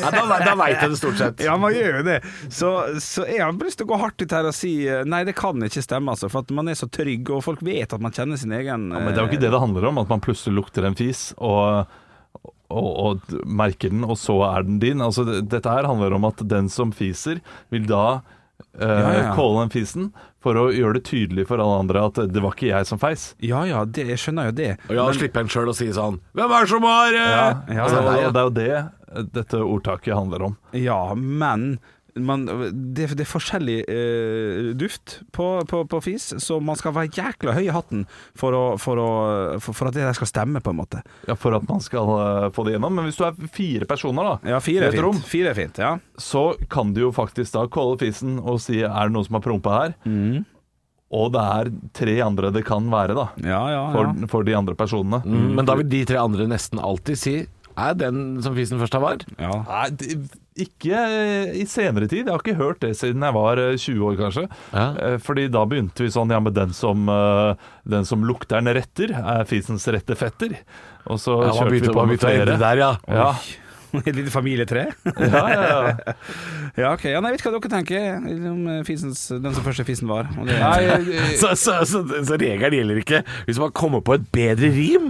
Ja.
da da veit jeg det stort sett.
Ja, man gjør jo det. Så, så jeg har lyst til å gå hardt ut her og si eh, nei, det kan ikke stemme, altså. For at man er så trygg, og folk vet at man kjenner sin egen
men det er jo ikke det det handler om, at man plutselig lukter en fis og, og, og merker den, og så er den din. Altså, det- dette her handler om at den som fiser, vil da eh,
ja.
calle den fisen for å gjøre det tydelig for alle andre at det var ikke jeg som feis.
eh, Ja ja, det, jeg skjønner jo det.
Og ja, slipper en sjøl å si sånn Hvem er det som har eh,
ja,
Altså,
ja, ja.
Det er jo det dette ordtaket handler om.
Ja, men man, det, det er forskjellig eh, duft på, på, på fis, så man skal være jækla høy i hatten for, å, for, å, for, for at det der skal stemme, på en måte.
Ja, For at man skal eh, få det gjennom. Men hvis du er fire personer, da,
Ja, fire er
i et rom,
fint. Fire er fint, ja.
så kan du jo faktisk da calle fisen og si 'er det noen som har prompa her'?
Mm.
Og det er tre andre det kan være, da.
Ja, ja,
For,
Ah, ja.
for de andre personene.
Mm, Men da vil de tre andre nesten alltid si Er den som fisen først har var?
ja.
Nei, det, ikke eh, i senere tid. Jeg har ikke hørt det siden jeg var eh, 20 år, kanskje.
Ja.
Eh, Fordi da begynte vi sånn Ja, men den som, eh, den som lukter den retter, er fisens rette fetter. Og så
Ja, man
kjørte
begynte-
vi på
man
med
begynte å endre
flere.
der, ja.
Ja,
Et lite familietre?
ja, ja, ja.
Ja, ok. Ja, nei, jeg vet ikke hva dere tenker om fisens, den som første fisen var. Og det,
Nei, eh,
Så, så, så, så regelen gjelder ikke hvis man kommer på et bedre rim?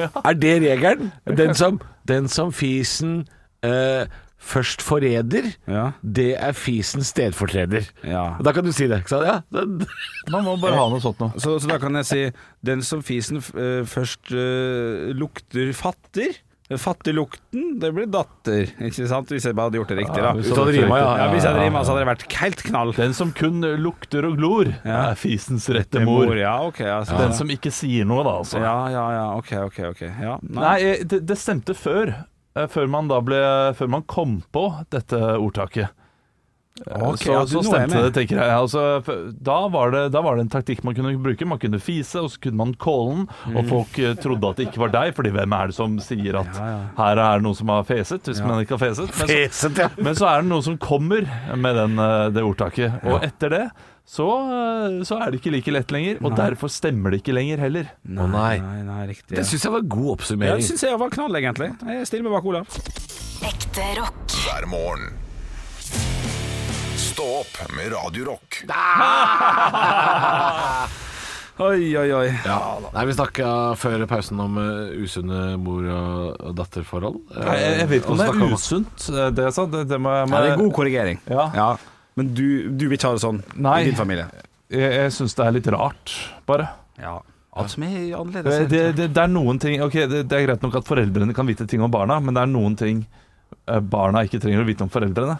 Er det regelen? Den som, den som fisen eh, først forræder,
Ja.
det er fisens stedfortreder.
Ja.
Da kan du si det. Ikke sant? Ja, den,
man må bare ha noe sånt nå.
Så, så da kan jeg si Den som fisen eh, først eh, lukter fatter Fatter lukten, det blir datter Ikke sant? Hvis jeg bare hadde gjort det riktig da
hvis
du hadde rima, ja.
Ja, hvis jeg hadde rima så hadde det vært helt knall
Den som kun lukter og glor,
Ja.
er fisens rette mor.
Ja, ok altså.
Den som ikke sier noe, da, altså.
Ja, ja, ja, ok, ok, ok ja, nei.
Nei, eh, det, det stemte før. eh, Før man da ble Før man kom på dette ordtaket. Eh,
Ok,
så,
ja, du-
så
nå er jeg
stemte det,
med.
tenker jeg. Altså, f- da, var det, da var det en taktikk man kunne bruke. Man kunne fise, og så kunne man calle den.
Mm.
Og folk eh, trodde at det ikke var deg, Fordi hvem er det som sier at her er det noen som har feset, hvis man ikke har feset. Men så,
feset, ja.
men så er det noen som kommer med den, eh, det ordtaket. Og etter det så, eh, så er det ikke like lett lenger. Og derfor stemmer det ikke lenger heller.
Å nei.
Nei, nei, riktig
Det
ja.
syns jeg var en god
Ja,
oppsummering.
det synes jeg var knall egentlig Jeg stiller meg bak Olav
Ekte rock.
hver morgen. Stå opp med Radio Rock.
Oi, oi, oi
Ja, Nei, Vi snakka før pausen om eh, usunne mor- og og datterforhold.
Nei, Jeg, jeg vet ikke om det
Og så snakket
er
vi
usunt, eh, det jeg sa. Det, det må jeg
Nei,
må
Det er
jeg-
god korrigering
Ja.
Men du, du vil ikke ha det sånn
Nei.
I din familie
Jeg, jeg syns det er litt rart, bare.
Ja Alt som er annerledes
Det, det, det, det er noen ting Ok, det, det er greit nok at foreldrene kan vite ting om barna, men det er noen ting eh, barna ikke trenger å vite om foreldrene.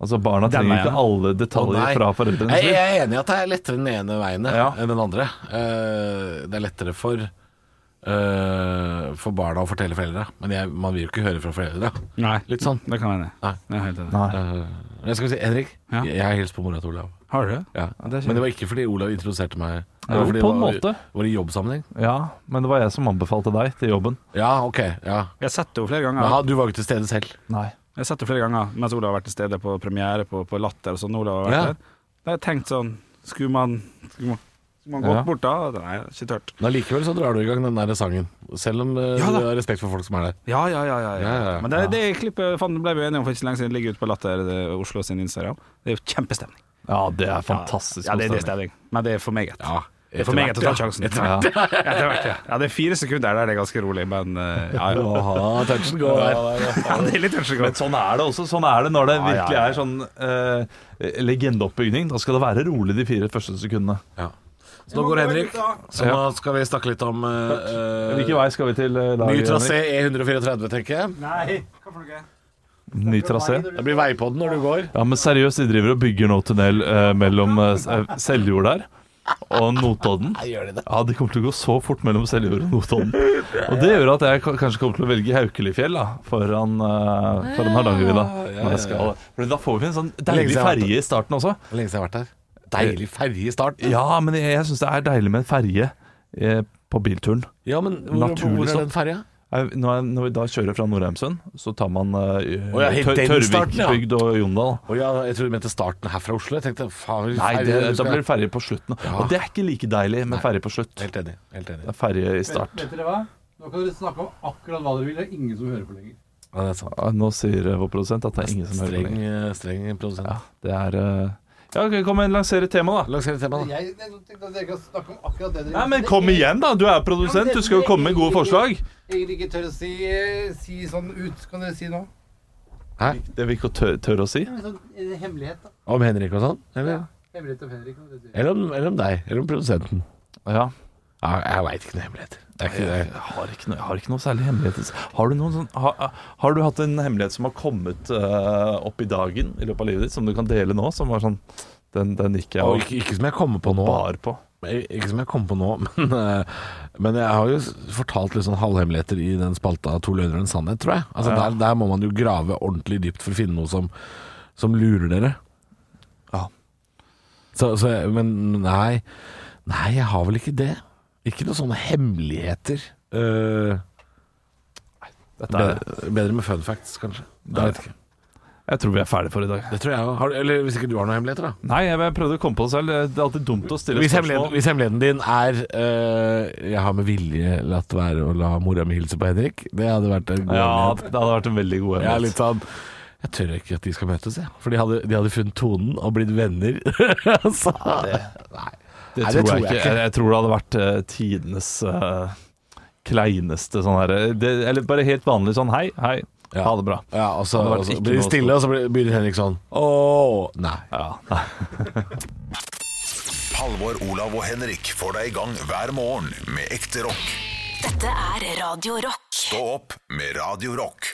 Altså, barna
Den
trenger
er jeg.
ikke alle
Å,
detaljer
nei.
fra foreldrenes
jeg,
liv.
jeg er enig i at det er lettere den ene veien
Ja.
enn den andre. Eh, det er lettere for eh, For barna å fortelle foreldre, men jeg, man vil jo ikke høre fra foreldre.
Nei
Litt sånn.
Det kan jeg
Nei.
Jeg er helt enig
Nei.
Eh, jeg skal si Henrik,
Ja.
jeg, jeg har hilst på mora til Olav.
Har du det?
Ja.
det er kjent.
men det var ikke fordi Olav introduserte meg. Det
Jo,
var fordi
på en
det var,
måte.
var i jobbsammenheng.
Ja, men det var jeg som anbefalte deg til jobben.
Ja, ok. Ja.
Jeg har sett det jo flere ganger.
Men, ha, du var jo ikke til stede selv.
Nei.
Jeg har sett det flere ganger mens Olav har vært til stede på premiere på, på Latter. og sånn, Olav har vært
Ja.
der. Da har jeg tenkt sånn Skulle man, skulle man, skulle man gått
Ja.
bort da? Nei, ikke tørt.
Men allikevel så drar du i gang den der sangen. Selv om eh,
Ja da.
du har respekt for folk som er der.
Ja, ja, ja. ja, ja.
Ja, ja, ja.
Men det, det klippet fant, ble vi enige om for ikke så lenge siden. Ligger ute på Latter det, er Oslo sin Instagram. Det er jo kjempestemning.
Ja, det er fantastisk. altså.
Ja, det er det
stemning.
stemning. Men det er for meget.
Ja,
det sånn er for meget
etter
å ta
hvert, ja.
sjansen. Ja. Etter hvert, ja. ja, det er fire sekunder der det er ganske rolig, men eh, ja, ja.
Aha, touchen går der.
ja, det er litt ønskelig.
Men sånn er det også. Sånn er det når det
ja,
virkelig
ja.
er sånn eh, legendeoppbygning. Da skal det være rolig de fire første sekundene.
Ja. Så nå går Henrik, så nå skal vi snakke litt om eh,
Hvilken vei skal vi til i dag?
Ny trasé
Henrik?
E134, tenker jeg.
Ny trasé.
Det blir vei på den når du går.
Ja, men seriøst, de driver og bygger nå tunnel eh, mellom eh, Seljord der og Notodden. Ja, Det kommer til å gå så fort mellom Seljord og Notodden. Og det gjør at jeg ka- kanskje kommer til å velge Haukelifjell da, foran, uh, foran Hardangervidda. når jeg skal- Fordi da får vi en sånn
Lenge
deilig
siden jeg har vært
ferge i starten også.
Lenge siden jeg har vært her. Deilig ferge i starten.
Ja, men jeg, jeg syns det er deilig med en ferge eh, på bilturen.
Ja, men hvor,
Naturlig
hvor er
stopp.
den ferja?
Nei, Når, jeg, når vi da kjører fra Nordheimsund, så tar man eh,
Å ja, helt
Tør-
den starten, ja.
Tørvikbygd og Jondal.
Å ja, jeg trodde du mente starten her fra Oslo. Jeg tenkte faen
Nei, det,
ferge,
da
skal-
blir det ferge på slutten. Og det er ikke like deilig med ferge på slutt. Det
Helt enig. Helt enig.
er ferge i start.
Vet dere hva? Nå kan dere snakke om akkurat hva dere vil. Det er ingen som hører på lenger.
Ja, det er sant.
Ja, Nå sier eh, vår produsent at det er ingen som hører på
Streng,
lenger.
eh, streng produsent.
Ja, det er eh, Ja, ok, kom igjen, lansere tema, da.
Lanser temaet, da.
Jeg, jeg tenkte at dere kan snakke om akkurat det dere
Nei, men kom igjen, da! Du er produsent, du skal jo komme med gode forslag.
Egentlig ikke tør å si, si sånn ut. Kan dere si noe?
Det vil ikke tør, tør å si.
En sånn en hemmelighet, da.
Om Henrik og sånn? Eller,
Hemmelighet om Henrik. kan dere si.
eller, om, eller om deg? Eller om produsenten?
Ja.
Ja, jeg veit ikke noen hemmeligheter. Det er ikke
Jeg
det.
har ikke noe, jeg har ikke noe særlig hemmelighet. Har du, noen sånn, har, har du hatt en hemmelighet som har kommet eh, opp i dagen i løpet av livet ditt, som du kan dele nå? Som var sånn Den, den gikk jeg
Og
og
ikke, ikke som jeg kommer på nå.
bar på.
Ikke som jeg kommer på nå, men, eh, men jeg har jo s- fortalt litt sånn halvhemmeligheter i den spalta To løgner og en sannhet, tror jeg. Altså der, der må man jo grave ordentlig dypt for å finne noe som, som lurer dere.
Ja.
Så, så jeg, men nei, nei, jeg har vel ikke det. Ikke noen sånne hemmeligheter. Eh,
Dette er,
bedre, bedre med fun facts, kanskje.
det er, jeg tror vi er ferdige for i dag.
Det tror jeg òg. Eller hvis ikke du har noen hemmeligheter, da.
Nei, jeg, jeg prøvde å komme på det selv. Det er alltid dumt å stille
Hvis hemmeligheten,
spørsmål.
hvis hemmeligheten din er eh, 'jeg har med vilje latt være å la mora mi hilse på Henrik', det hadde vært en god
Ja,
hemmelighet.
det hadde vært en veldig god
Jeg er
hemmelighet.
litt sånn Jeg tør ikke at de skal møtes, jeg. For de hadde, de hadde funnet tonen og blitt venner. Så, nei.
Det
Nei,
tror, jeg, ikke. Jeg, jeg tror det hadde vært eh, tidenes eh, kleineste sånn her det- Eller bare helt vanlig sånn hei, hei,
Ja.
ha det bra.
Ja, og
Det
så,
hadde vært
og så
ikke
blir de
noe
stille, og så blir- begynner Henrik sånn Åh, nei.
Halvor, Olav og Henrik får deg i gang hver morgen med ekte rock.
Dette er Radio Rock.
Stå opp med Radio Rock.